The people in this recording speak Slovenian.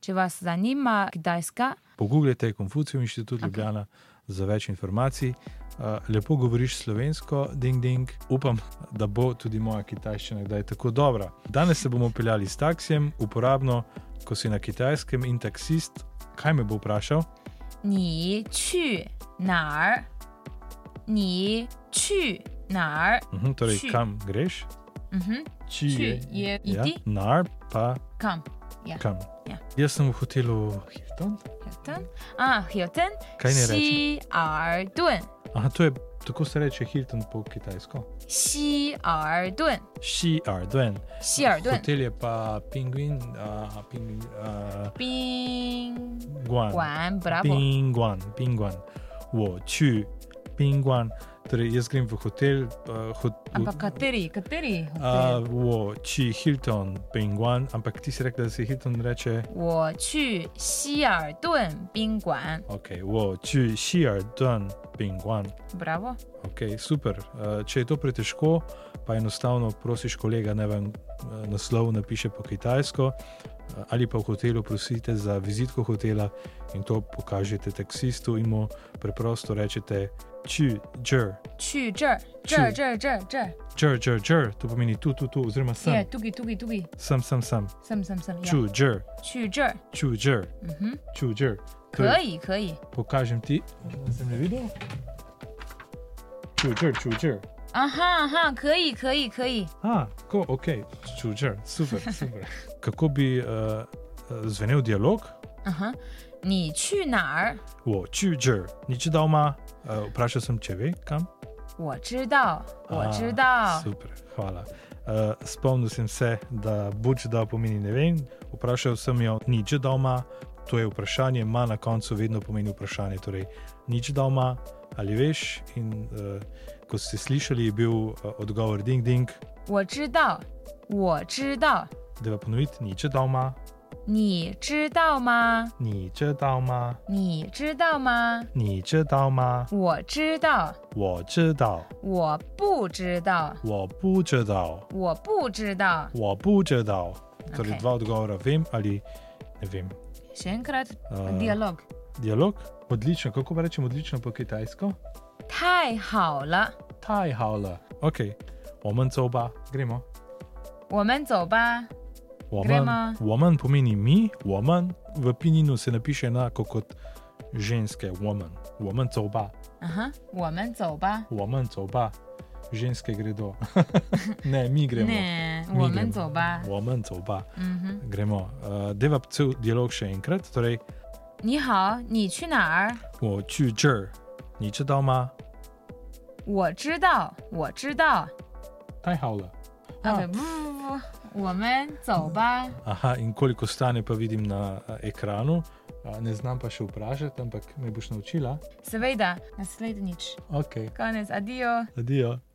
Če vas zanima Kitajska, Poglejte Konfucijev inštitut okay. Ljubljana za več informacij. Uh, Lepo govoriš slovensko, ding ding. Upam, da bo tudi moja kitajščina kdaj tako dobra. Danes se bomo peljali s taksijem, uporabno, ko si na kitajskem in taksist, kaj me bo vprašal? 你去哪儿？你去哪儿？ Uhum, torej, Či. kam greš? 嗯哼， Či je- je ja, iti. nar pa 看 kam. Ja. Jaz sem v hotelu Hilton. Hilton 啊，Hilton， Kaj naj rečem? 希尔顿， Aha, to je tako se reče Hilton po kitajsko. 希尔顿， Ši Arden. 希尔顿， Hotel je pa Penguin, uh, Penguin, uh, 宾 Guan. 馆，bravo， Pinguan, pinguan, wo, ču, pinguan. Torej, jaz grem v hotel, uh, hot, ampak kateri, kateri? hotel? Uh, wo, či Hilton, pinguan, ampak ti si rekel, da se Hilton reče, 我去希尔顿宾馆 ok, wo, či Hilton, pinguan. ，bravo， Ok, super. Uh, če je to pretežko, pa enostavno prosiš kolega, ne vem, eh, naslov napiše po kitajsko, eh, ali pa v hotelu prosite za vizitko hotela in to pokažete taksistu in mu preprosto rečete, či, čr, 去这儿，这儿，这儿，这儿，这儿 čr, čr, čr, to pomeni tu, tu, tu, oziroma sem, ，yeah，tu gi tu gi tu gi， sem, sem, sem, 什么什么什么， ču, čr, 去这儿， ču, čr, 嗯哼， ču, čr. 可以可以 Pokažem ti, da sem ne videl. Ču, čr, ču, čr. 啊哈啊哈，可以可以可以， A, tako, ok, čučer, super, super. Kako bi uh, zvenel dialog? 嗯哼，你去哪儿？ O, čučer, nič dal ma. Uh, vprašal sem, če ve, kam. 我知道，我 A, 知道， Super, hvala. Uh, spomnil sem se, da buč dal pomeni ne vem. Vprašal sem jo, nič dal ma. To je vprašanje, ma na koncu vedno pomeni vprašanje. Torej, nič dal ma, ali veš. In uh, ko ste slišali, je bil uh, odgovor ding ding, 我知道，我知道， da je ponoviti, nič dal ma, 你知道吗？ nič dal ma. 你知道吗？你知道吗？我知道，我知道，我不知道，我不知道，我不知道。我不知道。Torej, Okej. dva odgovora vem ali ne vem. Še enkrat Uh, dialog. Dialog, odlično, kako pa rečem odlično po kitajsko? 太好了，太好了，OK，我们走吧，gremo。我们走吧。我们 Gremo. 我们 pomeni mi, 我们 v pininu se napiše enako kot ženske, 我们我们走吧，嗯哼，我们走吧。我们走吧，ženske gredo, ne mi gremo, 那 Mi 嗯我们 gremo. 走吧。我们走吧。嗯哼， Gremo. Uh, Deva cel dialog še enkrat. Torej, 你好，你去哪儿？我去这儿，你知道吗？我知道，我知道。太好了。啊，不不不不，我们走吧。 Aha, in koliko stane, pa vidim na a, ekranu. A, Ne znam pa še vprašati, ampak me boš naučila. Seveda, naslednjič. Ok, Konec, adijo. adijo.